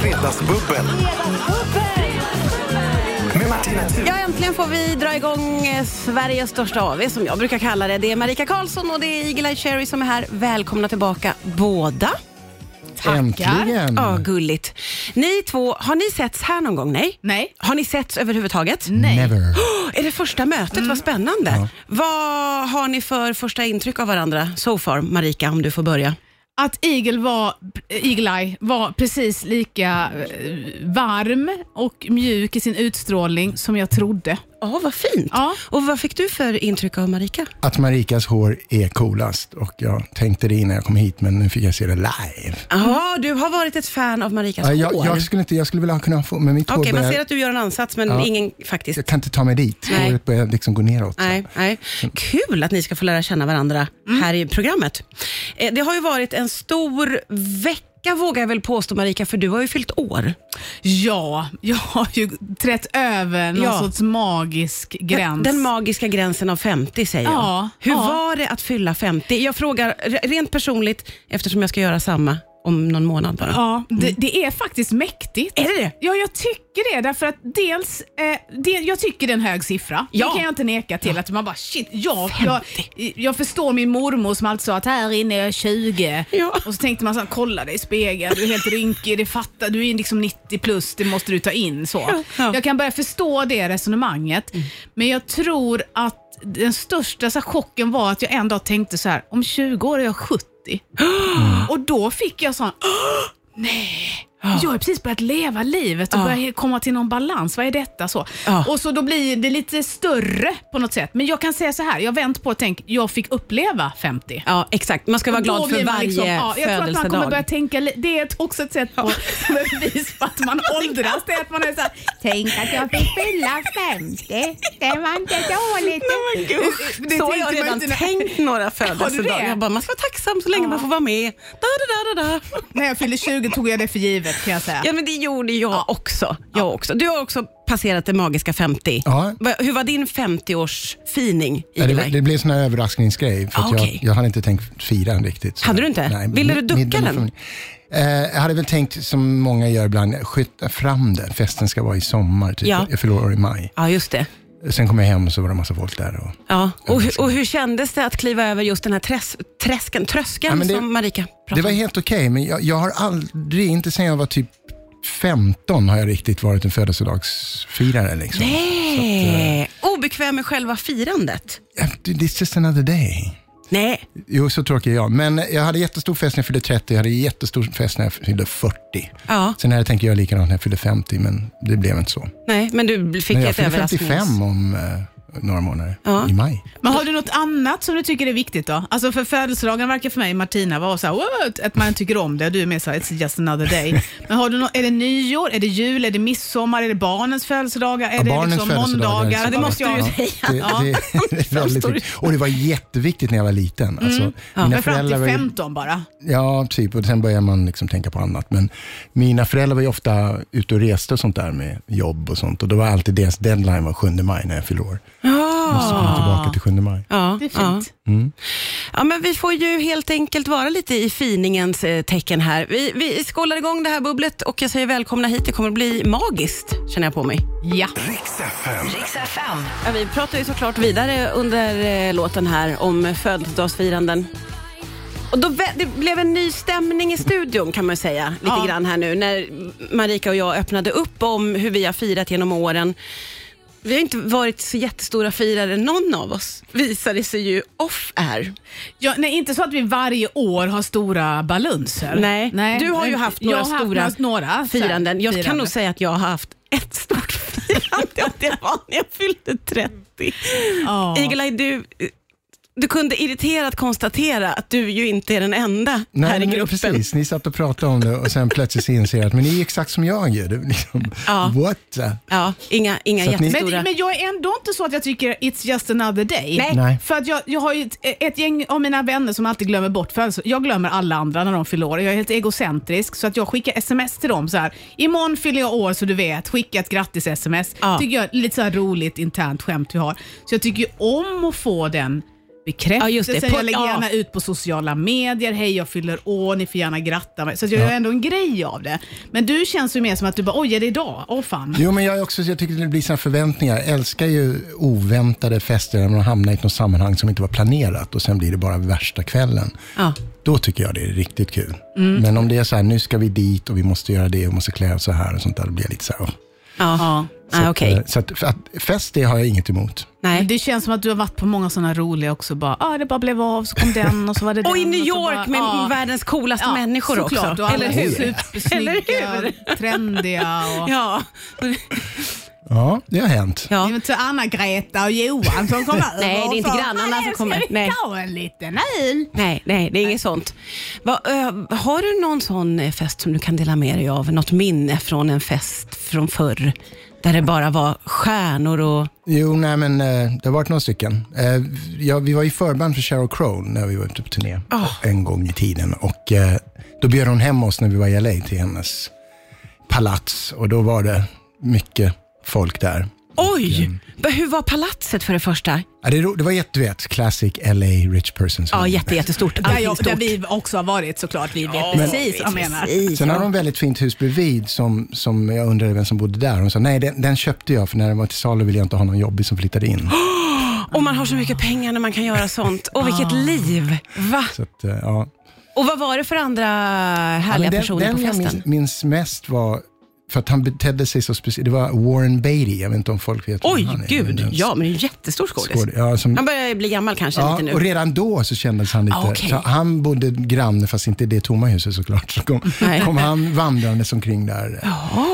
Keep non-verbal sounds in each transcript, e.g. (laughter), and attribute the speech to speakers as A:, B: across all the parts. A: Fredagsbubbel med Martina Thun.
B: Ja, äntligen får vi dra igång eh, Sveriges största AV som jag brukar kalla det. Det är Marika Karlsson och det är Eagle-Eye Cherry som är här. Välkomna tillbaka båda.
C: Äntligen!
B: Ja, gulligt. Ni två, har ni setts här någon gång? Nej? Mm.
D: Nej.
B: Har ni setts överhuvudtaget?
D: Nej.
C: Never.
B: Åh, Är det första mötet? Vad spännande. Vad har ni för första intryck av varandra so far, Marika, om du får börja?
D: Att Eagle, var, Eagle Eye var precis lika eh, varm och mjuk i sin utstrålning som jag trodde.
B: Ja, vad fint.
D: Ja.
B: Och vad fick du för intryck av Marika?
C: Att Marikas hår är coolast och jag tänkte det innan jag kom hit men nu fick jag se det live.
B: Ja, du har varit ett fan av Marikas
C: Ja,
B: hår.
C: jag, jag skulle inte, jag skulle vilja kunna få, men mitt
B: Okej,
C: hår
B: man
C: börjar,
B: ser att du gör en ansats, men
C: Ja.
B: ingen faktiskt.
C: jag kan inte ta mig dit.
B: Nej.
C: Håret börjar liksom gå neråt.
B: Nej, nej.
D: Mm.
B: Kul att ni ska få lära känna varandra här i programmet. Eh, Det har ju varit en stor vecka vågar jag väl påstå Marika, för du har ju fyllt år.
D: Ja, jag har ju trätt över någon
B: Ja.
D: sorts magisk gräns.
B: Den magiska gränsen av 50 säger
D: Ja,
B: jag. Hur
D: ja.
B: var det att fylla 50? Jag frågar re- rent personligt eftersom jag ska göra samma om någon månad bara.
D: ja, det, det är faktiskt mäktigt.
B: Mm. Är det det?
D: Ja, jag tycker det. Därför att dels, eh, det, jag tycker det är en hög siffra.
B: Ja.
D: Det kan jag inte neka till. Att man bara, shit, jag, jag, jag förstår min mormor som alltid sa att här inne är jag 20.
B: Ja.
D: Och så tänkte man så här, kolla dig i spegeln, du är helt rynkig, det fattar, du är liksom 90 plus, det måste du ta in. Så.
B: Ja, ja. Mm.
D: Jag kan börja förstå det resonemanget. Men jag tror att den största så här, chocken var att jag en dag tänkte så här, om 20 år är jag 70. Och då fick jag sån, (gasps) jag har precis börjat leva livet och
B: Ja.
D: börjat komma till någon balans. Vad är detta? Så.
B: Ja.
D: Och så då blir det lite större på något sätt. Men jag kan säga så här, jag har vänt på och tänkt, jag fick uppleva 50.
B: Ja, exakt. Man ska vara
D: Och då
B: glad för
D: blir man
B: varje
D: liksom- ja, Jag tror att man kommer
B: födelsedag.
D: börja tänka, li- det är ett- också ett sätt på, som ett (laughs) bevis på
B: (laughs)
D: att man åldras. Det är att man är så här,
E: Tänk att jag fick fylla 50. Det var inte dåligt.
D: det
B: så har
D: tänkte
B: jag
D: man
B: redan
D: inte när-
B: tänkt
D: (laughs)
B: några
D: det?
B: födelsedagar. Jag bara, man ska vara tacksam så länge man får vara med. Da, da, da, da, da.
D: när jag fyllde 20 tog jag det för givet kan jag säga.
B: Ja, men det gjorde jag också. Jag också. Du har också passerat det magiska 50.
C: Ja.
B: Va- Hur var din 50-årsfining,
C: Ja, det,
B: Igelaj?
C: det blev en sån här överraskningsgrej. För
B: Ah,
C: att
B: okej.
C: jag, jag hade inte tänkt fira den riktigt. Så.
B: Hade du inte? Ville du ducka
C: middagen
B: den?
C: från- Eh, jag hade väl tänkt, som många gör ibland, skjuta fram det. Festen ska vara i sommar, typ.
B: Ja.
C: jag förlorar i maj.
B: Ja, just det.
C: Sen kom jag hem och så var det massa folk där. Och,
B: Ja. Och, hur- och hur kändes det att kliva över just den här träs, träsken, tröskeln
C: Ja, men det-
B: som Marika pratade
C: Det var
B: om?
C: helt okej, men jag, jag har aldrig, inte sen jag var typ 15 har jag riktigt varit en födelsedagsfirare. Liksom.
B: Nej.
C: eh,
B: Obekväm med själva firandet?
C: This is another day.
B: Nej.
C: Jo, så tråkig är jag. Men jag hade jättestor fest när jag fyllde 30, jag hade jättestor fest när jag fyllde 40.
B: Ja.
C: Sen hade jag tänkt göra likadant när jag fyllde 50, men det blev inte så.
B: Nej, men du fick
C: Men jag
B: ett
C: fyller
B: överrasknings...
C: 55 om eh, några månader,
B: Ja.
C: i maj.
D: Men har du något annat som du tycker är viktigt då? Alltså för födelsedagen verkar för mig Martina vara så här, "What?" att man tycker om det och du är mer så här, it's just another
B: (laughs)
D: day. Men har du nå- är det nyår, är det jul, är det midsommar, är det barnens födelsedagar, är
C: Ja,
D: det
C: barnens
D: liksom
C: födelsedagar,
D: måndagar?
C: så-
D: det måste jag ju
C: ja,
D: säga.
C: Det, det, det är (laughs) väldigt viktigt. Och det var jätteviktigt när jag var liten. Alltså,
D: Mm. Men fram till
C: var ju-
D: 15 bara.
C: Ja, typ. Och sen börjar man liksom tänka på annat. Men mina föräldrar var ju ofta ute och reste och sånt där med jobb och sånt. Och då var alltid deras deadline var 7 maj när jag fyllde år. Och så kom jag
B: Ah.
C: tillbaka till 7 maj.
B: Ja,
D: Det är
B: ja.
D: fint.
B: Ja, men vi får ju helt enkelt vara lite i finingens eh, tecken här. Vi, vi skålar igång det här bubblet och jag säger välkomna hit. Det kommer att bli magiskt, känner jag på mig.
D: Ja.
A: Riks FM.
B: Ja, vi pratar ju såklart vidare under eh, låten här om födelsedagsfiranden. Och då vä- det blev en ny stämning i studion kan man ju säga lite
D: Ja.
B: grann här nu när Marika och jag öppnade upp om hur vi har firat genom åren. Vi har inte varit så jättestora firare någon av oss, visar det sig ju off-air.
D: Ja, nej, inte så att vi varje år har stora balanser.
B: Nej. Du har ju haft några
D: jag har
B: stora
D: haft några, några så här,
B: firanden. Jag kan
D: firanden.
B: nog säga att jag har haft ett stort (laughs) firande och det var när jag fyllde 30.
D: Ja.
B: Eagle-Eye, du, du kunde irriterat konstatera att du ju inte är den enda här i
C: men
B: gruppen.
C: precis. Ni satt och pratade om det och sen plötsligt så inser jag att men ni är exakt som jag är. Det är liksom,
B: Ja.
C: What?
B: Ja, inga, inga
C: Så att ni-
B: jättestora.
D: Men, men jag är ändå inte så att jag tycker it's just another day.
B: Nej.
C: Nej.
D: För att jag, jag har ju ett, ett gäng av mina vänner som alltid glömmer bort födelsedag. Jag glömmer alla andra när de fyller år. Jag är helt egocentrisk så att jag skickar sms till dem så här. Imorgon fyller jag år så du vet. Skicka ett grattis-sms.
B: Ja.
D: Tycker jag är lite så här roligt internt skämt vi har. Så jag tycker ju om att få den bekräftelsen.
B: Ja, just det. På-
D: jag lägger
B: ja.
D: gärna ut på sociala medier. Hej, jag fyller år, ni får gärna gratta mig. Så att jag gör ändå en grej av det. Men du känns ju mer som att du bara, oj, är det idag? Åh fan.
C: Jo, men jag, är också, jag tycker det blir såna förväntningar. Jag älskar ju oväntade fester när man hamnar i något sammanhang som inte var planerat och sen blir det bara värsta kvällen.
B: Ja. Mm.
C: Då tycker jag det är riktigt kul. Men om det är så här, nu ska vi dit och vi måste göra det och måste klä oss så här och sånt där, då blir jag lite så här. "Åh."
B: Ja.
C: Så
B: Ah,
C: att,
B: Okej.
C: eh, Så att, för att, fest, det har jag inget emot.
B: Nej.
D: Men Det känns som att du har varit på många sådana roliga också. Bara, ah, det bara blev av, så kom den och så var det
B: (laughs)
D: den.
B: Och i New
D: så
B: York med
D: ja.
B: världens coolaste
D: Ja,
B: människor
D: såklart,
B: också.
D: Och alla
B: Eller hur? (laughs) Eller
D: Supersnygga, trendiga och...
B: Ja.
C: Ja, det har hänt.
B: Ja.
D: Det är inte Anna-Greta och Johan som kommer över
B: (laughs) Nej, det är
D: och
B: inte
D: så,
B: grannarna
D: "Hallå,
B: som kommer."
D: Ska vi
B: Nej.
D: ta en liten öl?
B: Nej, nej, det är inget sånt. Va, ö, har du någon sån eh, fest som du kan dela med dig av? Något minne från en fest från förr? Där det bara var stjärnor och...
C: Jo, nej men eh, det har varit några stycken. Eh, ja, vi var i förband för Sheryl Crow när vi var ute på turné en gång i tiden. Och eh, då bjöd hon hem oss när vi var i LA till hennes palats. Och då var det mycket folk där.
B: Oj! Va- Hur var palatset för det första?
C: Ja, det, ro- det var jätte, du vet, classic LA rich persons.
B: Ja, jätte, jättestort.
D: Där, jag,
B: Allting
D: där
B: stort.
D: vi också har varit såklart. Vi vet precis vad jag menar.
C: Sen har de ett väldigt fint hus bredvid som, som jag undrade vem som bodde där. Hon sa nej, den, den köpte jag för när den var till salu ville jag inte ha någon jobbig som flyttade in.
B: Och man har så mycket pengar när man kan göra sånt. Och vilket liv! Ah. Va?
C: Så att, eh, ja.
B: Och vad var det för andra härliga
C: Ja, men den,
B: personer
C: den
B: på festen?
C: jag minns, minns mest var, för att han betedde sig så speciellt, det var Warren Beatty, jag vet inte om folk vet vem
B: Oj,
C: han är.
B: gud.
C: men-
B: Ja, men det är en jättestor skådis.
C: Skåd- ja, som-
B: Han börjar bli gammal kanske
C: Ja,
B: lite
C: och
B: nu.
C: redan då så kändes han lite...
B: Ah, okej.
C: så han bodde granne, fast inte i det tomma huset såklart. Så kom,
B: (laughs) Nej.
C: kom han vandrandes omkring där.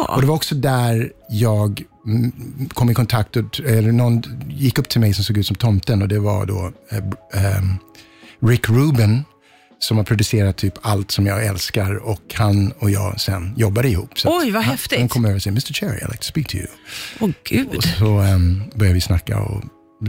B: Ah,
C: Och Det var också där jag mm, kom i kontakt, och, eller någon gick upp till mig som såg ut som tomten och det var då eh, b- ehm, Rick Rubin som har producerat typ allt som jag älskar och han och jag sen jobbade ihop. Så att
B: Oj, vad
C: han,
B: häftigt.
C: Han kom över och sa, Mr Cherry, I'd like to speak to you.
B: Åh gud.
C: Och så ehm, började vi snacka och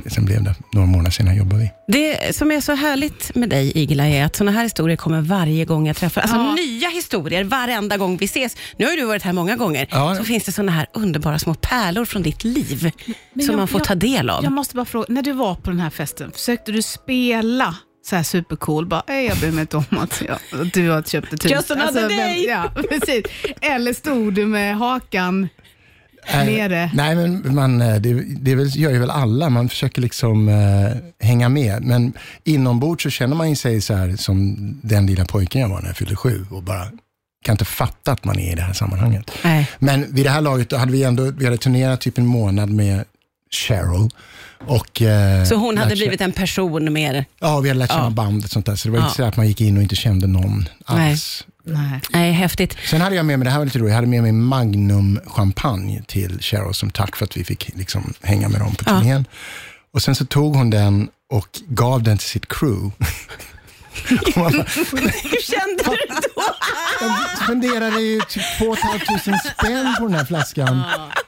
C: sen blev det några månader senare jobbade vi.
B: Det som är så härligt med dig, Igla, är att såna här historier kommer varje gång jag träffar Alltså
D: Ja.
B: nya historier varenda gång vi ses. Nu har ju du varit här många gånger.
C: Ja.
B: Så finns det såna här underbara små pärlor från ditt liv
D: Men
B: som
D: jag-
B: man får
D: jag-
B: ta del av.
D: Jag måste bara fråga, när du var på den här festen, försökte du spela så här supercool? Bara, "Ey, jag bryr mig inte om att jag, att du har köpt ett hus.
B: Just another
D: Alltså, vem-
B: day.
D: Ja, (laughs) precis. Eller stod du med hakan
C: Eh,
D: nere?
C: Nej, men man, eh, det, det är väl- gör ju väl alla. Man försöker liksom eh, hänga med. Men inombords så känner man ju sig så här som den lilla pojken jag var när jag fyllde sju och bara kan inte fatta att man är i det här sammanhanget.
B: Nej.
C: Men vid det här laget då hade vi ändå vi hade turnerat typ en månad med Cheryl. Och, eh,
B: Så hon hade
C: lärt kä-
B: blivit en person mer...
C: Ja, vi hade lärt känna
B: Ja.
C: bandet och sånt där. Så det var
B: Ja.
C: inte så att man gick in och inte kände någon
B: Nej.
C: alls.
D: Nej.
B: Nej, häftigt.
C: Sen hade jag med mig, det här var lite roligt, jag hade med mig Magnum champagne till Cheryl som tack för att vi fick liksom hänga med dem på
B: Ja.
C: turnén. Och sen så tog hon den och gav den till
B: (laughs)
C: sitt crew. Och man bara,
B: Hur kände du då?
C: jag spenderade ju typ 2 500 spänn på den här flaskan.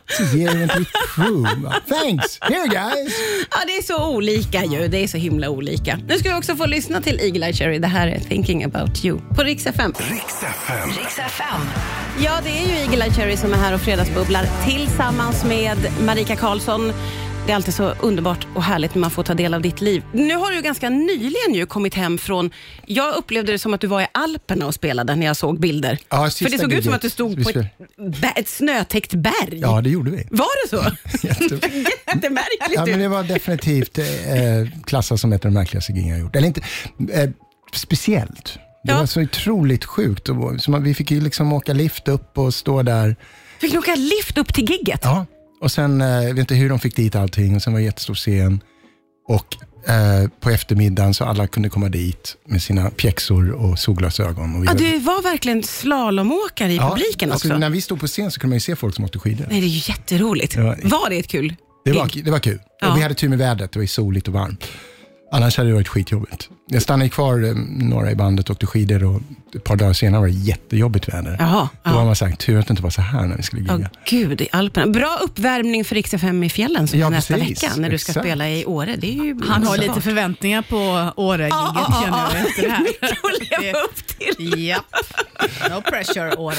C: Så ger du den till ditt crew. Bara, Thanks, here guys.
B: Ja, det är så olika ju.
C: Mm.
B: Det är så himla olika. Nu ska vi också få lyssna till Eagle-Eye Cherry. Det här är Thinking about you på Rix FM.
A: Riks FM.
B: Ja, det är ju Eagle Eye Cherry som är här och fredagsbubblar tillsammans med Marika Karlsson. Det är alltid så underbart och härligt när man får ta del av ditt liv. Nu har du ganska nyligen ju kommit hem från, jag upplevde det som att du var i Alperna och spelade när jag såg bilder.
C: Ja, sista
B: För det såg ut som
C: gigget.
B: att du stod
C: Vi
B: på ett, be- ett snötäckt berg.
C: Ja, det gjorde vi.
B: (laughs) Var det så?
C: (laughs) Jätte-
B: (laughs) Jättemärkligt
C: Ja,
B: ut.
C: men det var definitivt eh, klassat som ett av de märkligaste gingen jag gjort. Eller inte, eh, speciellt. Det
B: Ja.
C: var så otroligt sjukt. Och, så man, vi fick ju liksom åka lift upp och stå där.
B: Fick ni åka lift upp till gigget?
C: Ja. Och sen, eh, jag vet inte hur de fick dit allting. Och sen var det jättestor scen. Och eh, på eftermiddagen så alla kunde komma dit med sina pjäxor och solglasögon. Och vi
B: Ja,
C: var-
B: du var verkligen slalomåkare i
C: Ja,
B: publiken också.
C: alltså, När vi stod på scen så kunde man ju se folk som åkte skidor.
B: Nej, det är ju jätteroligt.
C: Ja.
B: Var det ett kul
C: Det var, det var kul.
B: Ja.
C: Och vi hade tur med vädret, det var ju soligt och varmt. Annars hade det varit skitjobbigt. Jag stannade kvar eh, några i bandet och åkte skidor och ett par dagar senare var det jättejobbigt väder.
B: Jaha,
C: Då
B: ja.
C: har man sagt, tur att det inte var så här när vi skulle gigga.
B: Ja, gud, i Alperna. Bra uppvärmning för Rix FM i fjällen som
C: Ja,
B: är nästa
C: precis.
B: vecka när du ska
C: Exakt.
B: spela i Åre. Det är ju
D: Han har
B: underbart.
D: lite förväntningar på
B: Ja, ja,
D: Åre-giget
B: ja,
D: känner
B: ja.
D: jag efter det (laughs) här.
B: (laughs) Mycket att leva upp till.
D: Japp. No pressure, Åre.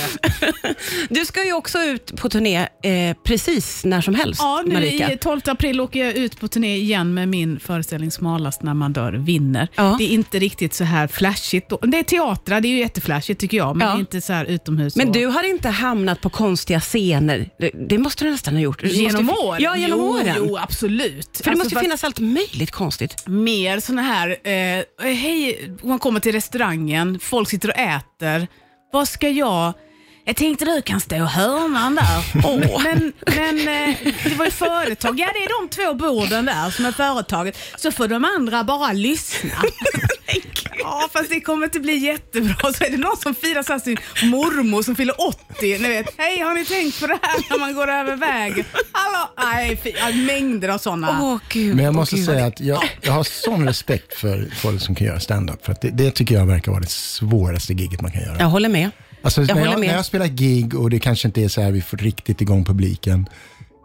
B: Du ska ju också ut på turné eh, precis när som helst,
D: Ja, nu
B: Marika.
D: i 12 april åker jag ut på turné igen med min föreställning Smalast när man dör vinner.
B: Ja.
D: Det är inte riktigt så här flashigt. då. Det är teatrar, det är ju jätteflashigt tycker jag, men
B: Ja.
D: det är inte så här utomhus.
B: Men
D: och-
B: du har inte hamnat på konstiga scener? Det, det måste du nästan ha gjort. Du måste ju-
D: Genom åren?
B: Ja, genom
D: jo,
B: åren.
D: Jo, absolut. Alltså,
B: För det måste ju
D: fast-
B: finnas allt möjligt konstigt.
D: mer såna här, eh, hej, man kommer till restaurangen, folk sitter och äter. Vad ska jag? Jag tänkte du kan stå i hörnan där. Men, men eh, det var ju företag. Ja, det är de två borden där som är företaget. Så får de andra bara lyssna. Ja, fast det kommer inte bli jättebra. Så är det någon som firar så här sin mormor som fyller 80. Ni vet, hej har ni tänkt på det här när man går över vägen? Hallå? Nej, fy, ja, mängder av sådana.
B: Åh, gud.
C: Ah. Men jag måste
B: åh, gud.
C: säga att jag, jag har sån respekt för folk som kan göra stand-up. För att det, det tycker jag verkar vara det svåraste giget man kan göra.
B: Jag håller med.
C: Alltså, när,
B: håller
C: jag,
B: med.
C: när jag spelar gig och det kanske inte är så här vi får riktigt igång publiken,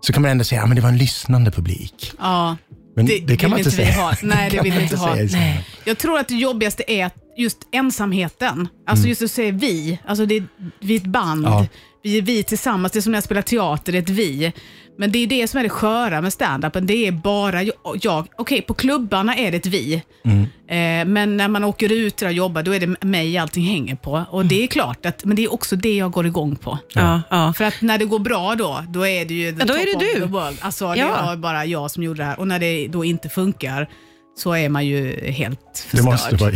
C: så kan man ändå säga att men det var en lyssnande publik.
D: Ja.
C: Men (laughs) det, kan
D: vill
C: man inte
D: vi
C: säga.
D: Ha. Nej, det
C: kan
D: vill
C: man
D: vi inte ha.
C: säga i sådana
B: Nej.
C: fall.
D: Jag tror att det jobbigaste är att just ensamheten. Alltså just att säga vi. Alltså det är, vi är ett band.
C: Ja.
D: Vi är vi tillsammans. Det är som när jag spelar teater, det är ett vi. Men det är det som är det sköra med standupen. Det är bara jag. jag. Okej, på klubbarna är det ett vi. Eh, men när man åker ut och jobbar, då är det mig allting hänger på. Och det är klart, att, men det är också det jag går igång på.
B: Ja, ja.
D: För att när det går bra då, då är det ju the
B: Ja, då är
D: top
B: det
D: of
B: du.
D: the world. Alltså, det
B: Ja.
D: var bara jag som gjorde det här. Och när det då inte funkar så är man ju helt
C: Det
D: förstörd.
C: måste vara...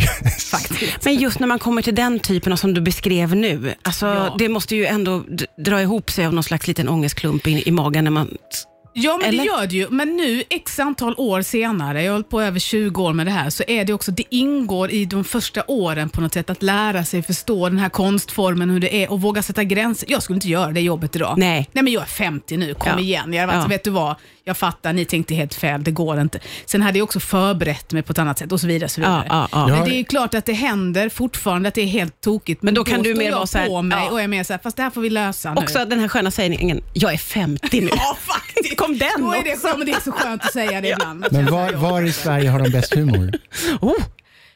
D: Faktiskt.
B: Men just när man kommer till den typen av som du beskrev nu, alltså,
D: Ja.
B: det måste ju ändå d- dra ihop sig av någon slags liten ångestklump i, i magen när man...
D: Ja, men
B: Eller?
D: det gör det ju. Men nu, x antal år senare, jag har hållit på över 20 år med det här, så är det också, det ingår i de första åren på något sätt att lära sig förstå den här konstformen, hur det är och våga sätta gränser. Jag skulle inte göra det jobbet idag.
B: Nej.
D: Nej men jag är 50 nu, kom
B: Ja.
D: igen. Jag, alltså,
B: Ja.
D: Vet du vad, jag fattar, ni tänkte helt fel, det går inte. Sen hade jag också förberett mig på ett annat sätt och så vidare. och Så vidare.
B: Ja, ja, ja.
D: Men det är ju klart att det händer fortfarande, att det är helt tokigt. Men,
B: då kan du
D: står
B: mer
D: jag
B: vara så här,
D: på mig
B: ja.
D: och är mer så här, fast det här får vi lösa nu.
B: Också den här sköna sägningen, jag är 50 nu.
D: (laughs) Ja, faktiskt.
B: Kom den
D: Då är det,
B: också.
D: ja, men det är så skönt att säga det ibland.
C: (laughs) Men var, var i Sverige har de bäst humor?
B: Oh,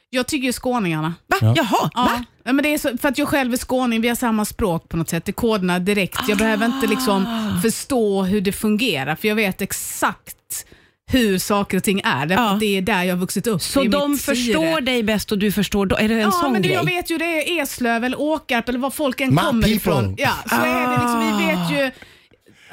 D: Jag tycker ju skåningarna.
B: va?
C: Ja.
B: Jaha,
D: Ja.
B: va?
D: Nej, men det är så, för att jag själv är skåning, vi har samma språk på något sätt. Det kodnar direkt. Jag behöver
B: Ah.
D: inte liksom förstå hur det fungerar, för jag vet exakt hur saker och ting är. Därför
B: Ja.
D: att Det är där jag har vuxit upp.
B: Så
D: det är
B: de
D: mitt syre.
B: förstår dig bäst och du förstår dem? Är det en
D: Ja,
B: sån
D: men du,
B: grej?
D: jag vet ju det är Eslöv eller Åkarp eller var folk än
C: My
D: kommer
C: people.
D: ifrån. Ja, så är det liksom, vi vet
B: Ah.
D: ju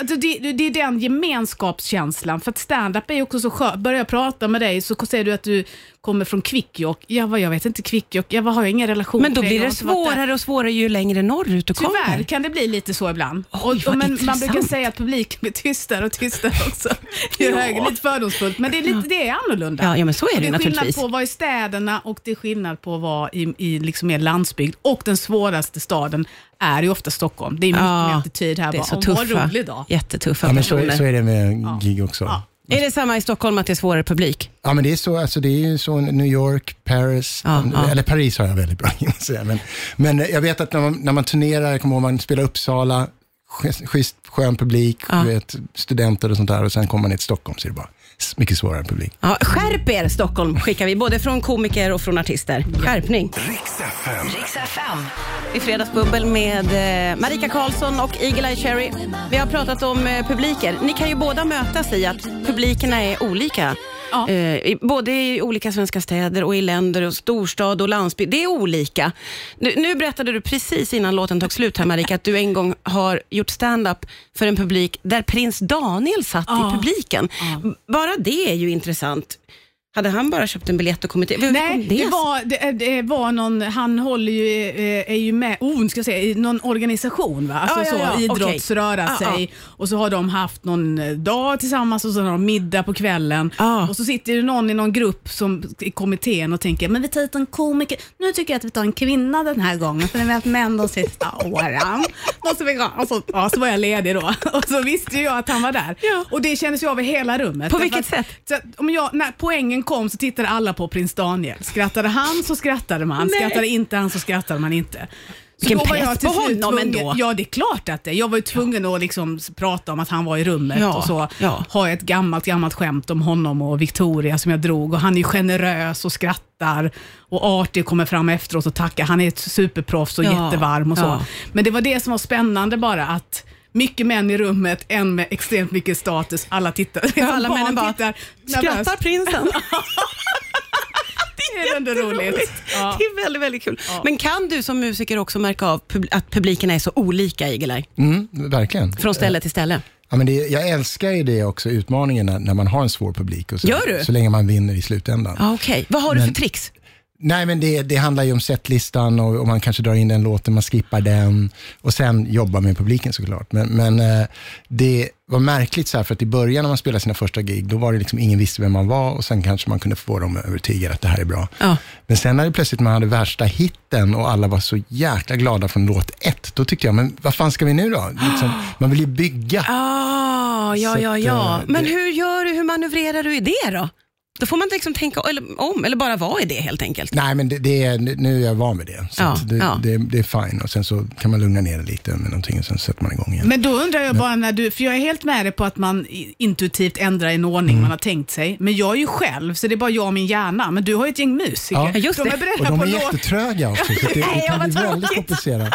D: alltså, det, det- det är den gemenskapskänslan. För att stand-up är ju också så skönt. Börjar jag prata med dig så säger du att du kommer från Kvikkjokk. Ja, vad jag vet inte Kvikkjokk. Ja, vad har jag ingen relation
B: Men då
D: till dig.
B: blir
D: Jag
B: det
D: har inte varit där.
B: svårare och svårare ju längre norrut du
D: Tyvärr
B: kommer.
D: kan det bli lite så ibland.
B: Oj,
D: och,
B: vad
D: och, men man
B: intressant.
D: brukar säga att publiken blir tystare och tystare också.
B: (laughs)
D: Det är
B: Ja.
D: högre, lite fördomsfullt, men det är, lite, det är annorlunda.
B: Ja, ja, men så är det
D: Och
B: ju
D: är skillnad
B: naturligtvis.
D: på att vara i städerna och det är skillnad på att vara i, i liksom mer landsbygd. Och den svåraste staden är ju ofta Stockholm. Det är mycket mer attityd här.
B: det är
D: bara,
B: så
D: "Åh, Vad
B: tuffa,
D: rolig dag.
B: jättetuffa
C: Ja, men så,
B: personer.
C: så är det med gig också.
D: Ja.
B: Är det samma i Stockholm, att det är svårare publik?
C: Ja, men det är så, alltså det är ju så New York, Paris,
B: Ja, ja.
C: eller Paris har jag väldigt bra (laughs) in att säga. Men, men jag vet att när man, när man turnerar, jag kommer ihåg man spelar Uppsala, schysst- schysst, skön publik,
B: Ja.
C: du vet, studenter och sånt där och sen kommer man ner till Stockholm så är det bara s- mycket svårare publik.
B: Ja, skärp er Stockholm, skickar vi, både från komiker och från artister. Skärpning.
A: Riks FM.
F: Riks FM.
B: I Fredagsbubbel med eh, Marika Karlsson och Eagle-Eye Cherry. Vi har pratat om eh, publiker. Ni kan ju båda mötas i att publikerna är olika.
D: Ja.
B: Eh, i- både i olika svenska städer och i länder och storstad och landsbygd. Det är olika. Nu, nu berättade du precis innan låten tog slut här Marika, att du en gång har gjort stand-up för en publik där prins Daniel satt i
D: Ja.
B: publiken. B- Bara det är ju intressant. Hade han bara köpt en biljett och kommit in? Hur kom
D: Nej, det
B: sig?
D: var, det, eh, det var någon, han håller ju, eh, är ju med, oh, ska jag säga, i någon organisation, va? Alltså
B: Ja, ja, ja,
D: så,
B: okej. Ah,
D: idrottsröra
B: Ja,
D: sig. Och så har de haft någon eh, dag tillsammans och så har de middag på kvällen.
B: Ja.
D: Och så sitter det någon i någon grupp som, i kommittén och tänker, men vi tar hit en komiker. Nu tycker jag att vi tar en kvinna den här gången, för vi har haft män de sista åren. måste vi gå. Och så, alltså, ja, så var jag ledig då (laughs) och så visste ju jag att han var där.
B: Ja.
D: Och det kändes ju av i hela rummet.
B: På vilket
D: Därför att- Så, att om jag, när poängen kom så tittade alla på prins Daniel. Skrattade han så skrattade man,
B: Nej.
D: skrattade inte han så skrattade man inte. Så
B: Vilken
D: då var
B: press
D: jag till
B: på
D: slut
B: honom
D: tvungen,
B: ändå.
D: Ja, det är klart att det. Jag var ju tvungen att liksom s- prata om att han var i rummet
B: Ja,
D: och så.
B: ja.
D: Har jag ett gammalt, gammalt skämt om honom och Victoria som jag drog och han är ju generös och skrattar och Artie kommer fram efteråt och tackar. Han är ett superproffs och
B: Ja,
D: jättevarm och så.
B: ja.
D: Men det var det som var spännande bara att mycket män i rummet, en med extremt mycket status. Alla tittar.
B: alla
D: Barn
B: männen bara,
D: tittar nervöst.
B: Skrattar prinsen?
D: Det är ändå roligt. Ja.
B: Det är väldigt, väldigt kul. Men kan du som musiker också märka av pub- att publiken är så olika, Igelaj?
C: Mm, verkligen.
B: Från ställe till ställe?
C: Ja, men det, jag älskar ju det också, utmaningen när, när man har en svår publik. Och så,
B: Gör du?
C: Så länge man vinner i slutändan.
B: Ah, Okej, vad har du för tricks?
C: Nej, men det, det handlar ju om setlistan och, och man kanske drar in den låten, man skippar den och sen jobbar med publiken såklart. Men, men eh, det var märkligt så här, för att i början när man spelade sina första gig, då var det liksom ingen visste vem man var och sen kanske man kunde få dem övertygade att det här är bra.
B: Ja.
C: Men sen när det plötsligt man hade värsta hitten och alla var så jäkla glada från låt ett, då tyckte jag, men vad fan ska vi nu då? Liksom, man vill ju bygga.
B: Ah, ja,
C: Så
B: ja,
C: att,
B: ja.
C: eh,
B: Men
C: det-
B: hur gör du, hur manövrerar du i det då? Då får man inte liksom tänka eller, om eller bara vara i det helt enkelt.
C: Nej, men det, det är, nu är jag van vid det. Så
B: Ja,
C: att det,
B: ja.
C: det, det är fine. Och sen så kan man lugna ner det lite med någonting och sen sätter man igång igen.
D: Men då undrar jag bara, när du, för jag är helt med dig på att man i- intuitivt ändrar en ordning man har tänkt sig. Men jag är ju själv, så det är bara jag och min hjärna. Men du har ju ett gäng musiker.
C: Ja. Ja,
B: just
D: de
B: det.
D: är
C: Och
D: beredda
C: de
D: på
C: är
D: låt.
C: jättetröga också, så det, det
D: Nej,
C: kan
D: vad
C: bli väldigt
D: tråkigt.
C: komplicerat.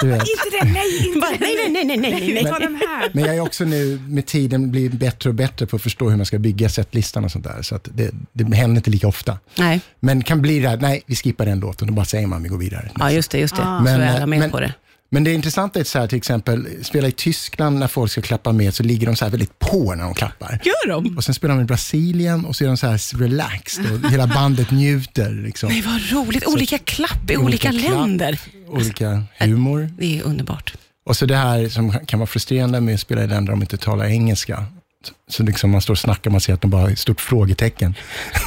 C: Du vet.
D: Inte det, nej,
B: (laughs)
D: inte
B: Bara,
D: det.
B: nej, nej, nej, nej, nej, nej.
D: Ta den här.
C: Men jag är också nu med tiden blir bättre och bättre på att förstå hur man ska bygga setlistan och sånt där. Så att det, det händer inte lika ofta.
B: Nej.
C: Men kan bli det här, nej vi skippar den låten och bara säger man vi går vidare.
B: Ja, just det, just det. Ah,
C: Men,
B: så är alla
C: eh,
B: med
C: men,
B: på det.
C: Men det intressanta är så här, till exempel, spela i Tyskland när folk ska klappa med så ligger de så här väldigt på när de klappar.
B: Gör de?
C: Och sen spelar de i Brasilien och så är de så här relaxed och hela bandet njuter.
B: (laughs)
C: Liksom.
B: Nej, vad roligt. Olika klapp i olika,
C: klapp,
B: länder.
C: Olika humor.
B: Det är underbart.
C: Och så det här som kan vara frustrerande med att spela i länder om de inte talar engelska. Så- Så liksom man står och snackar, man ser att de bara har ett stort frågetecken.
B: (laughs)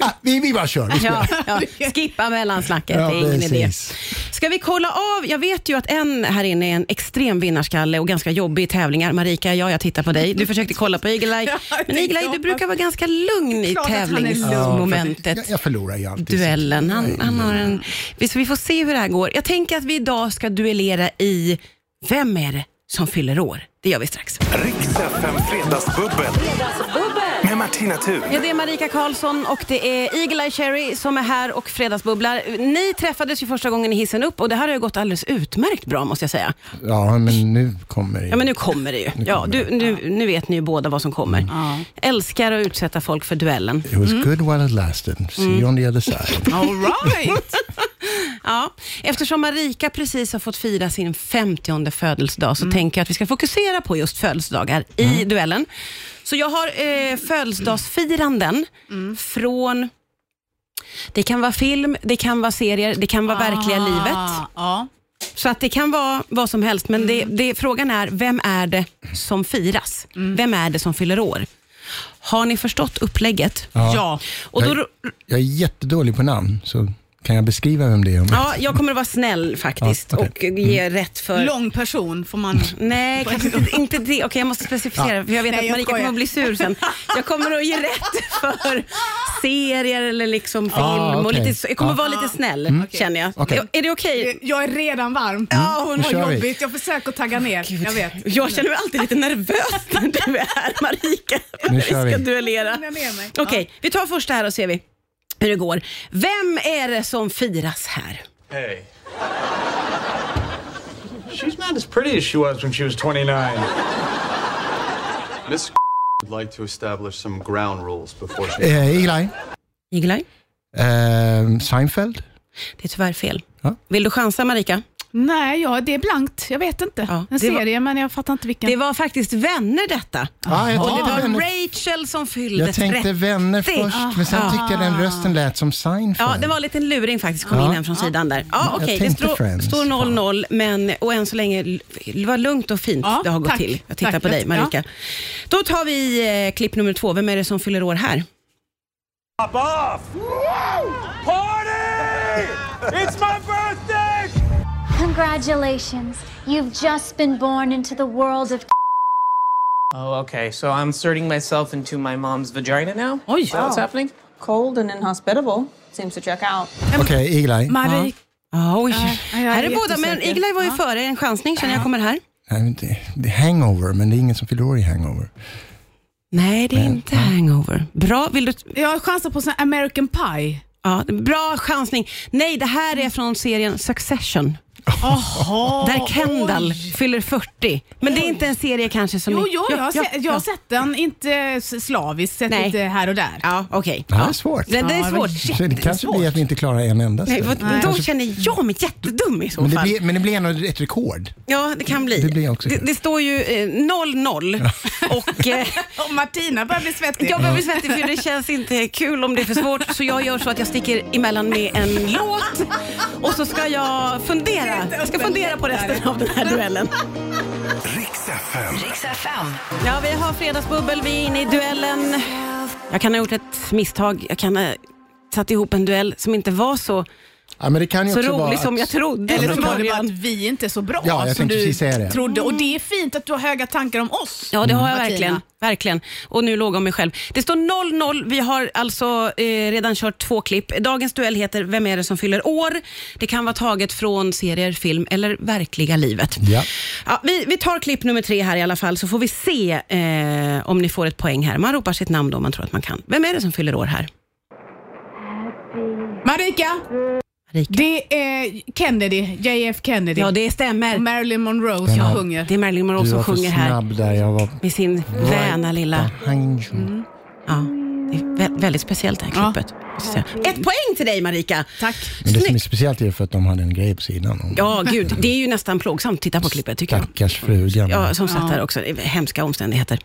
C: ah, vi, vi bara kör. Vi spelar.
B: Ja, ja. Skippa mellansnacket,
C: Ja,
B: det är ingen idé.
C: precis.
B: Ska vi kolla av, jag vet ju att en här inne är en extrem vinnarskalle och ganska jobbig i tävlingar. Marika, ja, jag tittar på dig. Du försökte kolla på Igelaj,
D: (laughs) Ja, jag
B: men Igelaj du
D: hoppas.
B: brukar vara ganska lugn i
D: Klart att han är lugn.
B: tävlingsmomentet.
C: Jag, jag förlorar ju alltid.
B: Duellen,
C: Jag är
B: han,
C: ingen-
B: han har en... vi- Så vi får se hur det här går. Jag tänker att vi idag ska duellera i Vem är det som fyller år? Det gör vi strax.
A: Riks FM Fredagsbubbel. Med Martina Thun.
B: Ja, det är Marika Karlsson och det är Eagle-Eye Cherry som är här och Fredagsbubblar. Ni träffades ju första gången i hissen upp och det här har ju gått alldeles utmärkt bra måste jag säga.
C: Ja, men nu kommer det.
B: Ja, men (laughs) nu kommer det ju. Ja, du, nu, nu vet ni ju båda vad som kommer. Älskar att utsätta folk för duellen.
C: It was good while it lasted. See you
B: Mm.
C: on the other side.
D: (laughs) All right.
B: Ja, eftersom Marika precis har fått fira sin 50 födelsedag så tänker jag att vi ska fokusera på just födelsedagar i duellen. Så jag har eh, födelsedagsfiranden från... Det kan vara film, det kan vara serier, det kan vara verkliga livet.
D: Ah, ja.
B: Så att det kan vara vad som helst, men
D: Mm.
B: det, det, frågan är vem är det som firas? Vem är det som fyller år? Har ni förstått upplägget?
D: ja.
B: (laughs) Och då,
C: jag, jag är jättedålig på namn, så kan jag beskriva vem det är? Om
B: ja, jag kommer att vara snäll faktiskt
C: Ja, okej. Mm.
B: och ge rätt för...
D: Lång person får man...
B: Nej, kanske inte, inte det. Okej, jag måste specificera. För jag vet
D: Nej,
B: att
D: jag
B: Marika
D: skojar.
B: kommer att bli sur sen. Jag kommer att ge rätt
D: (laughs)
B: för serier eller liksom film.
C: Ah,
B: och
C: okej.
B: lite, så- jag kommer
C: Ah.
B: vara lite snäll, känner jag.
C: Okej.
B: Är- Är det okej?
D: Jag är redan varm. Mm. Ja, hon
C: Nu
D: var
C: kör vi.
D: jobbigt. Jag försöker tagga ner. Jag vet.
B: Jag känner mig alltid lite nervös när du är här, Marika.
C: Nu kör
B: vi ska
C: vi.
B: duellera.
D: Jag ner mig.
B: Okej, vi tar första här och ser vi hur det går. Vem är det som firas här?
F: Hey. She's not as pretty as she was when she was 29.
G: Miss (laughs) would like to establish some ground rules before she.
C: Eh, Eli?
B: Igelaj?
C: Eh, Seinfeld?
B: Det är tyvärr fel.
C: Ja.
B: Vill du chansa, Marika?
D: Nej, ja, det är blankt. Jag vet inte.
B: Ja,
D: en
B: det var-
D: serie, men jag fattar inte vilken.
B: Det var faktiskt vänner detta.
C: Ah, jag,
B: Och det
C: tänkte
B: var
C: vänner,
B: Rachel som fyllde
C: jag tänkte
B: 30.
C: vänner först, men sen tyckte jag den rösten lät som Seinfeld.
B: Ah. Ja, det var en liten luring faktiskt. Kom
C: Ja.
B: in en från sidan där. Ja,
C: jag
B: okej. Det
C: tänkte
B: står-
C: Friends.
B: står 0-0, men och än så länge l- det var lugnt och fint
D: Ja,
B: det har gått
D: tack.
B: till. Jag tittar
D: Tack.
B: på dig,
D: Ja.
B: Marika. Då tar vi eh, klipp nummer två. Vem är det som fyller år här?
F: Pop off! Party! It's my birthday!
H: Hello, Congratulations. You've just been born into the world of
I: Oh, okay. So I'm inserting myself into my mom's vagina now?
B: Oj.
I: Is that what's happening?
J: Cold and inhospitable seems to check out.
C: Okej, Eagle-Eye.
D: Marie,
B: Ja, Ah, Oj.
D: jag är
B: här är båda, men
D: jättesäker.
B: Iglaj var ju före. En chansning känner jag kommer här.
C: Nej, men det- Det är hangover, men det är ingen som fyller år i hangover.
B: Nej, det är inte hangover. Bra, vill du...
D: jag chansar på sån här American Pie.
B: Ja, bra chansning. Nej, det här är från serien Succession. Där Kendall fyller 40. Men det är inte en serie kanske som...
D: Jo,
B: är-
D: jo jag, har se, jag har sett den, inte s- slaviskt, sett
B: Nej.
D: lite här och där.
B: Ja, okej.
C: Det här är svårt.
B: Det, det är
D: Ja, det var
B: svårt.
C: Så det kanske blir att vi inte klarar en enda.
B: Nej,
C: ställ.
B: vad- då känner jag mig jättedum i så
C: men, det
B: fall.
C: blir, men det blir ändå ett rekord.
B: Ja, det kan bli.
C: Det blir också
B: det,
C: kul.
B: det står ju eh, 0-0 (laughs) och eh,
D: (laughs) Och Martina börjar bli svettig.
B: jag behöver svettig för det känns inte kul om det är för svårt. Så jag gör så att jag sticker emellan med en låt och så ska jag fundera. Jag ska fundera på resten av den här duellen.
A: Riks FM.
K: Riks FM.
B: Ja, vi har fredagsbubbel, vi är inne i duellen. Jag kan ha gjort ett misstag. Jag kan ha satt ihop en duell som inte var så,
C: Ja, men det kan ju
B: så
C: också vara
B: rolig
C: att-
B: som jag trodde
D: Eller så
B: från
D: var det bara att
B: början.
D: vi inte är så bra
C: Ja, jag
D: som
C: tänkte
D: du
C: precis säga det.
D: trodde. Och det är fint att du har höga tankar om oss.
B: Mm. Ja, det har
C: Mm.
B: jag
D: Martina.
B: verkligen. verkligen. Och nu låg jag om mig själv. Det står 0-0. Vi har alltså eh, redan kört två klipp. Dagens duell heter Vem är det som fyller år? Det kan vara taget från serier, film eller verkliga livet.
C: Ja.
B: Ja, vi, vi tar klipp nummer tre här i alla fall, så får vi se eh, om ni får ett poäng här. Man ropar sitt namn då om man tror att man kan. Vem är det som fyller år här?
D: Marika,
B: Marika.
D: det är Kennedy, JF Kennedy.
B: Ja, det stämmer.
D: och Marilyn Monroe som
C: har-
D: sjunger.
B: Det är Marilyn Monroe
C: Du
B: som
C: var för
B: sjunger här
C: snabb där. Jag var
B: med sin väna lilla... Mm.
C: behind you.
B: Ja, det är vä- väldigt speciellt det här
D: Ja.
B: klippet. måste jag säga. Ett poäng till dig Marika!
D: Tack.
C: Men det som är
B: Snyggt.
C: speciellt är ju för att de hade en grej på sidan. Om
B: Ja, gud. Det är ju nästan plågsamt att titta på klippet tycker jag.
C: Stackars frugan.
B: Ja, som satt där också. Det är Hemska omständigheter.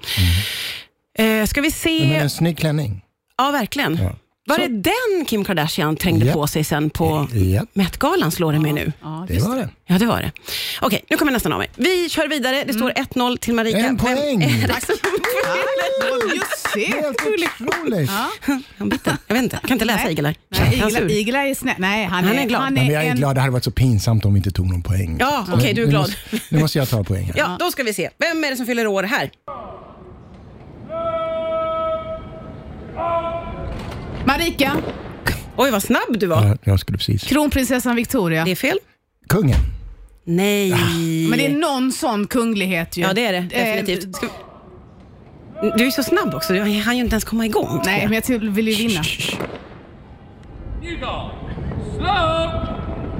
B: Eh, ska vi
C: Mm. Men
B: se?
C: en snygg klänning.
B: Ja, verkligen.
C: Ja.
B: Var det den Kim Kardashian trängde
C: Ja.
B: på sig sen på
C: Ja,
B: Met-galan, slår det mig nu?
D: Ja,
C: det var det.
B: Ja, det var det. Okej, nu kommer nästan av mig. Vi kör vidare. Det
D: Mm.
B: står 1-0 till Marika.
C: En
B: Vem (laughs)
C: poäng!
B: är det som-
D: Just det.
C: Helt otroligt.
B: Han biter. Jag vet inte. Jag kan inte läsa Igelar.
D: Nej,
B: Han är
D: Igla,
B: sur.
D: Igla är snäll. Nej, han,
B: Han är glad.
C: Nej, men jag är
D: en-
C: glad. Det hade varit så pinsamt om vi inte tog någon poäng.
B: Ja,
C: Men
B: okej, du är
C: nu
B: glad.
C: Måste, nu måste jag ta poäng här.
B: Ja, då ska vi se. Vem är det som fyller år här?
D: Marika,
B: Oj, vad snabb du var.
C: Ja, jag skulle precis.
D: kronprinsessan Victoria.
B: Det är fel.
C: Kungen.
B: Nej.
D: Men det är någon sån kunglighet ju.
B: Ja, det är det.
D: Eh,
B: Definitivt. Ska... Du är så snabb också. Du hann ju inte ens komma igång. tror
D: nej,
B: jag.
D: men jag till- vill ju vinna.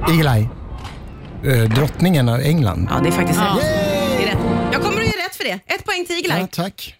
C: Eagle-Eye. Eh, Drottningen av England.
B: Ja, det är faktiskt
D: Ja.
B: rätt. Det är rätt. Jag kommer att ge rätt för det. Ett poäng till Iglar.
C: Ja, tack.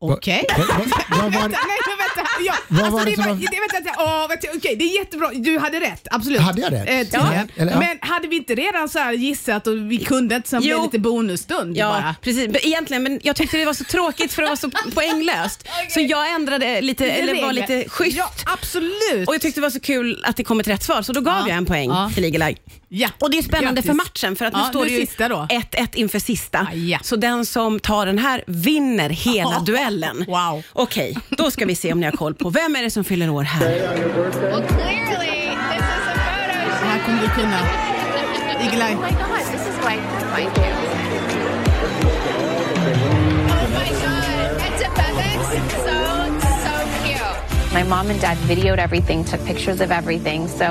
D: Okej.
C: Va- va-
B: (laughs)
C: vad var-
D: Vänta, nej, men vänta. Ja,
C: Vad
D: alltså,
C: var det
D: det
C: som
D: var-
C: var-
D: det- vänta, vänta. Åh, vänta, Okej, det är jättebra. Du hade rätt, absolut.
C: Hade jag rätt?
D: Eh, tydligen.
C: Ja, eller, ja.
D: Men hade vi inte redan så här gissat och vi kunde inte, sen blev
B: Jo.
D: det lite bonusstund
B: Ja,
D: bara.
B: precis. Men Egentligen, men jag tyckte det var så tråkigt för det var
D: (laughs)
B: så poänglöst. Så jag ändrade lite, eller var
D: Regler.
B: lite schysst.
D: Ja, absolut.
B: Och jag tyckte det var så kul att det kom ett rätt svar, så då gav jag en poäng
D: Ja.
B: till Igelaj.
D: ja.
B: Och det är spännande
D: Grattis.
B: för matchen, för att nu
D: Ja,
B: står
D: nu
B: det ju
D: sista då.
B: 1-1 inför sista.
D: Ah, ja.
B: Så den som tar den här vinner hela duellen.
D: (laughs) Wow.
B: Okej, då ska vi se om ni har koll på vem är det som fyller år här.
J: Well, clearly this is a photo
D: Det här kommer du kunna. Igelaj.
K: my god, this is why thank you.
J: Oh my god, it's a FedEx. So so cute.
K: My mom and dad videoed everything, took pictures of everything, so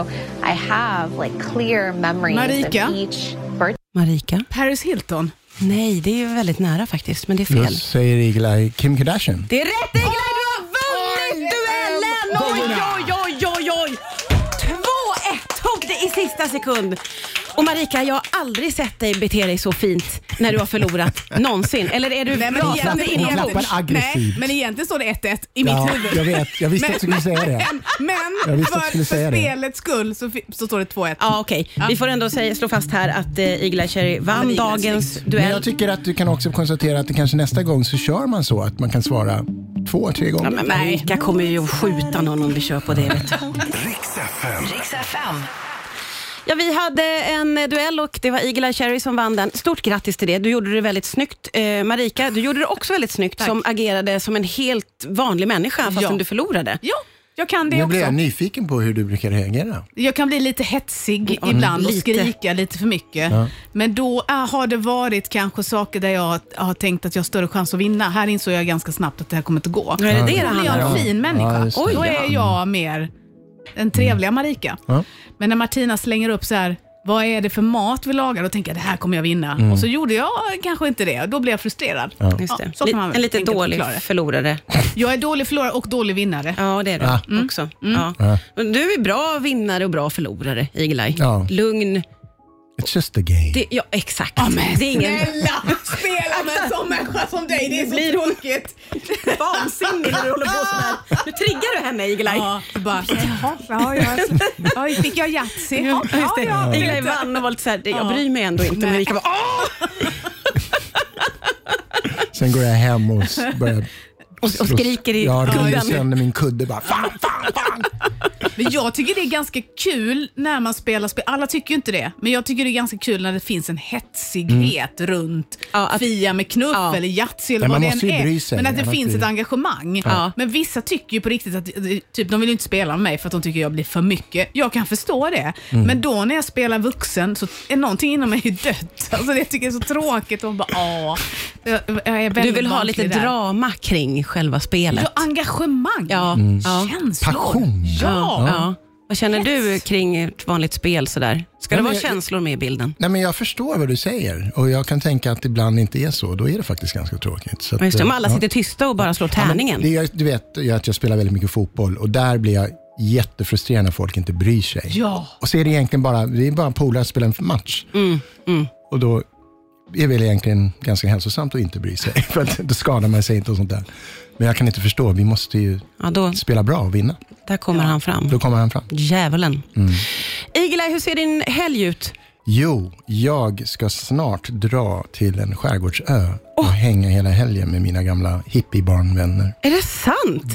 K: I have like clear memories
D: Marika?
K: of each birthday.
B: Marika?
D: Paris Hilton.
B: Nej, det är ju väldigt nära faktiskt, men det är
C: Då
B: fel.
C: säger Eagle-Eye Kim Kardashian.
B: Det är rätt Igelaj, du har vunnit duellen! Oj, oj, oj, oj, oj! 2-1 tog det i sista sekund. Och Marika, jag har aldrig sett dig bete dig så fint när du har
C: (laughs)
B: förlorat någonsin. Eller är du bra
C: klappar-
B: framför
C: hon
B: innan
C: klappar
D: nej,
C: aggressivt.
D: men egentligen står det 1-1 i
C: Ja,
D: mitt huvud.
C: jag vet. Jag visste att du skulle säga det. Jag
D: Men
C: visste att du
D: för,
C: skulle säga
D: för
C: det.
D: spelets skull så, fi- så står det 2-1.
B: Ja, okej. Vi får ändå säga, slå fast här att eh, Igla Cherry vann
D: Igla
B: dagens
C: Men
B: duell.
C: jag tycker att du kan också konstatera att det kanske nästa gång så kör man så att man kan svara två, tre gånger.
B: Ja, men Marika kommer ju att skjuta någon om vi kör på det. Vet du.
A: Riks FM.
K: Riks FM.
B: Ja, vi hade en eh, duell och det var Igla Cherry som vann den. Stort grattis till det. Du gjorde det väldigt snyggt. Eh, Marika, du gjorde det också väldigt snyggt som agerade som en helt vanlig människa fast
D: Ja.
B: som du förlorade.
D: Ja, Jag kan det
C: nu
D: också.
C: blir jag nyfiken på hur du brukar reagera.
D: Jag kan bli lite hetsig
C: Mm,
D: ibland och
C: lite.
D: skrika lite för mycket.
C: Ja.
D: Men då äh, har det varit kanske saker där jag har, har tänkt att jag har större chans att vinna. Här insåg jag ganska snabbt att det här kommer inte gå.
B: Ja, är det det det
D: Då blir
B: handlar
D: jag
B: om?
D: en fin människa.
B: Ja, just det.
D: då
B: Oj,
D: är
B: ja. Mm.
D: jag mer den trevliga Marika.
C: Ja.
D: Men när Martina slänger upp så här, vad är det för mat vi lagar? Då tänker jag, det här kommer jag vinna.
B: Mm.
D: Och så gjorde jag kanske inte det. Då blev jag frustrerad.
B: Ja. Just det.
D: så kan man
B: en lite
D: tänka
B: dålig
D: förklara det.
B: förlorare.
D: Jag är dålig förlorare och dålig vinnare.
B: Ja, det är du
D: Ja.
B: också.
D: Mm.
B: Ja. Men Du är bra vinnare och bra förlorare, Igelaj.
C: Ja.
B: Lugn.
C: It's just a game.
B: Det, ja, exakt. det är ingen...
D: spela med en sån människa som dig. Det är så
B: Blir hon-
D: tråkigt.
B: Vansinnig när du håller på sådär. Nu triggar du henne, Igelaj.
D: Ja, bara, jaha, ja, ja, ja, fick jag Yatzy? Ja,
B: Just
D: ja,
B: det.
D: ja,
B: Igelaj
D: lite.
B: vann och var lite såhär, det- jag
D: Ja.
B: bryr mig ändå inte. Men Erika bara, "Åh!"
C: Sen går jag hem och s- börjar...
B: (laughs) Och- och skriker i
C: Ja, river
B: kudden.
C: sönder min kudde bara. Fan!
D: Men jag tycker det är ganska kul när man spelar spel. Alla tycker ju inte det, men jag tycker det är ganska kul när det finns en hetsighet runt Fia med knuff eller Yatzy eller
C: Men
D: vad
C: Mm. man
D: det
C: måste
D: än
C: ju bry
D: är.
C: sig,
D: Men att det
C: annars
D: finns
C: blir
D: ett
C: det-
D: engagemang.
C: Ja.
D: Men vissa tycker ju på riktigt att typ, de vill ju inte spela med mig för att de tycker jag blir för mycket. Jag kan förstå det,
C: Mm.
D: men då när jag spelar vuxen så är någonting inom mig ju dött. Alltså, det tycker jag är så tråkigt. Och bara, åh. Jag, jag är väldigt
B: Du vill ha
D: barnslig
B: lite
D: där.
B: drama kring själva spelet.
D: Ja, ah, engagemang.
B: Ja.
D: Mm.
B: Ja.
D: Känslor. Passion. Ja.
B: Ja. Ja. Vad känner du kring ett vanligt spel? Sådär? Ska
C: Nej,
B: det
C: men
B: vara
C: jag-
B: känslor med i bilden?
C: Nej, men jag förstår vad du säger och jag kan tänka att ibland inte är så. Då är det faktiskt ganska tråkigt. Så att, eh,
B: Ja, Just det, om alla
C: ja.
B: sitter tysta och bara slår
C: Ja, men
B: tärningen.
C: Det är, du vet ju att jag spelar väldigt mycket fotboll och där blir jag jättefrustrerad när folk inte bryr sig.
D: Ja.
C: Och så är det egentligen bara, vi är bara polare att spela en match.
B: Mm,
C: Och då är det väl egentligen ganska hälsosamt att inte bry sig. (laughs) För att då skadar man sig inte och sånt där. Men jag kan inte förstå, vi måste ju spela bra och vinna.
B: Där kommer han fram.
C: Då kommer han fram.
B: Djävulen.
C: Mm.
B: Igelaj, hur ser din helg ut?
C: Jo, jag ska snart dra till en skärgårdsö och hänga hela helgen med mina gamla hippiebarnvänner.
B: Är det sant?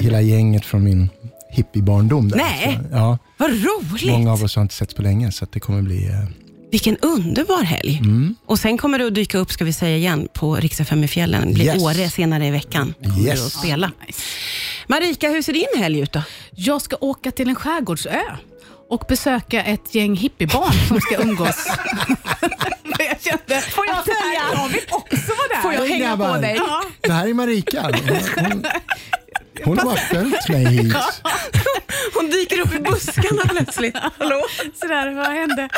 C: Hela gänget från min hippiebarndom. Där.
B: Nej.
C: Så, ja.
B: Vad roligt!
C: Många av oss har inte setts på länge, så att det kommer bli... eh,
B: Vilken underbar helg.
C: Mm.
B: Och sen kommer du att dyka upp, ska vi säga igen, på Riksdag 5 i fjällen. Det blir
C: Yes.
B: Åre senare i veckan. Kommer
C: Yes.
B: du att spela.
D: Ah,
B: Marika, hur ser din helg ut då?
D: Jag ska åka till en skärgårdsö och besöka ett gäng hippiebarn som
B: (laughs)
D: ska umgås. jag kände, Får jag följa? Jag vill också vara där.
B: Får jag hänga på dig?
D: Ja.
C: Det här
B: (laughs)
C: är Marika. Hon, hon, hon har bara följt mig hit.
B: Hon dyker upp i buskarna (laughs) plötsligt. Hallå?
D: Sådär, vad hände?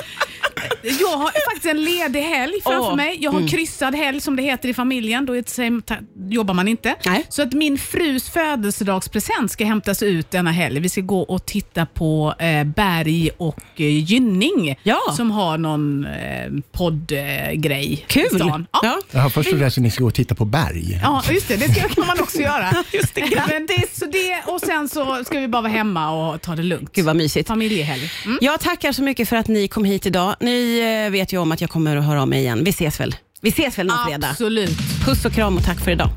D: Jag har faktiskt en ledig helg framför
B: Åh,
D: mig. Jag har
B: mm.
D: kryssad helg som det heter i familjen. Då är det, säg- ta- jobbar man inte. Så att min frus födelsedagspresent ska hämtas ut denna helg. Vi ska gå och titta på eh, Berg och eh, Gynning som har någon eh, poddgrej. Eh, grej i
C: Kul.
D: stan. Ja.
C: Jaha, först trodde jag att ni skulle gå och titta på berg.
D: Ja, just det. Det ska, kan man också göra. just det, (laughs) Men det, så det, och sen så ska vi bara vara hemma och ta det lugnt. Gud
B: vad mysigt.
D: Familjehelg. Mm.
B: Jag tackar så mycket för att ni kom hit idag. Ni eh, vet ju om att jag kommer att höra av mig igen. Vi ses väl? Vi ses väl någon fredag?
D: Absolut.
B: Puss och kram och tack för idag.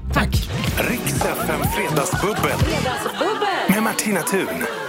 A: Riks FM Fredagsbubbel. Med Martina Thun.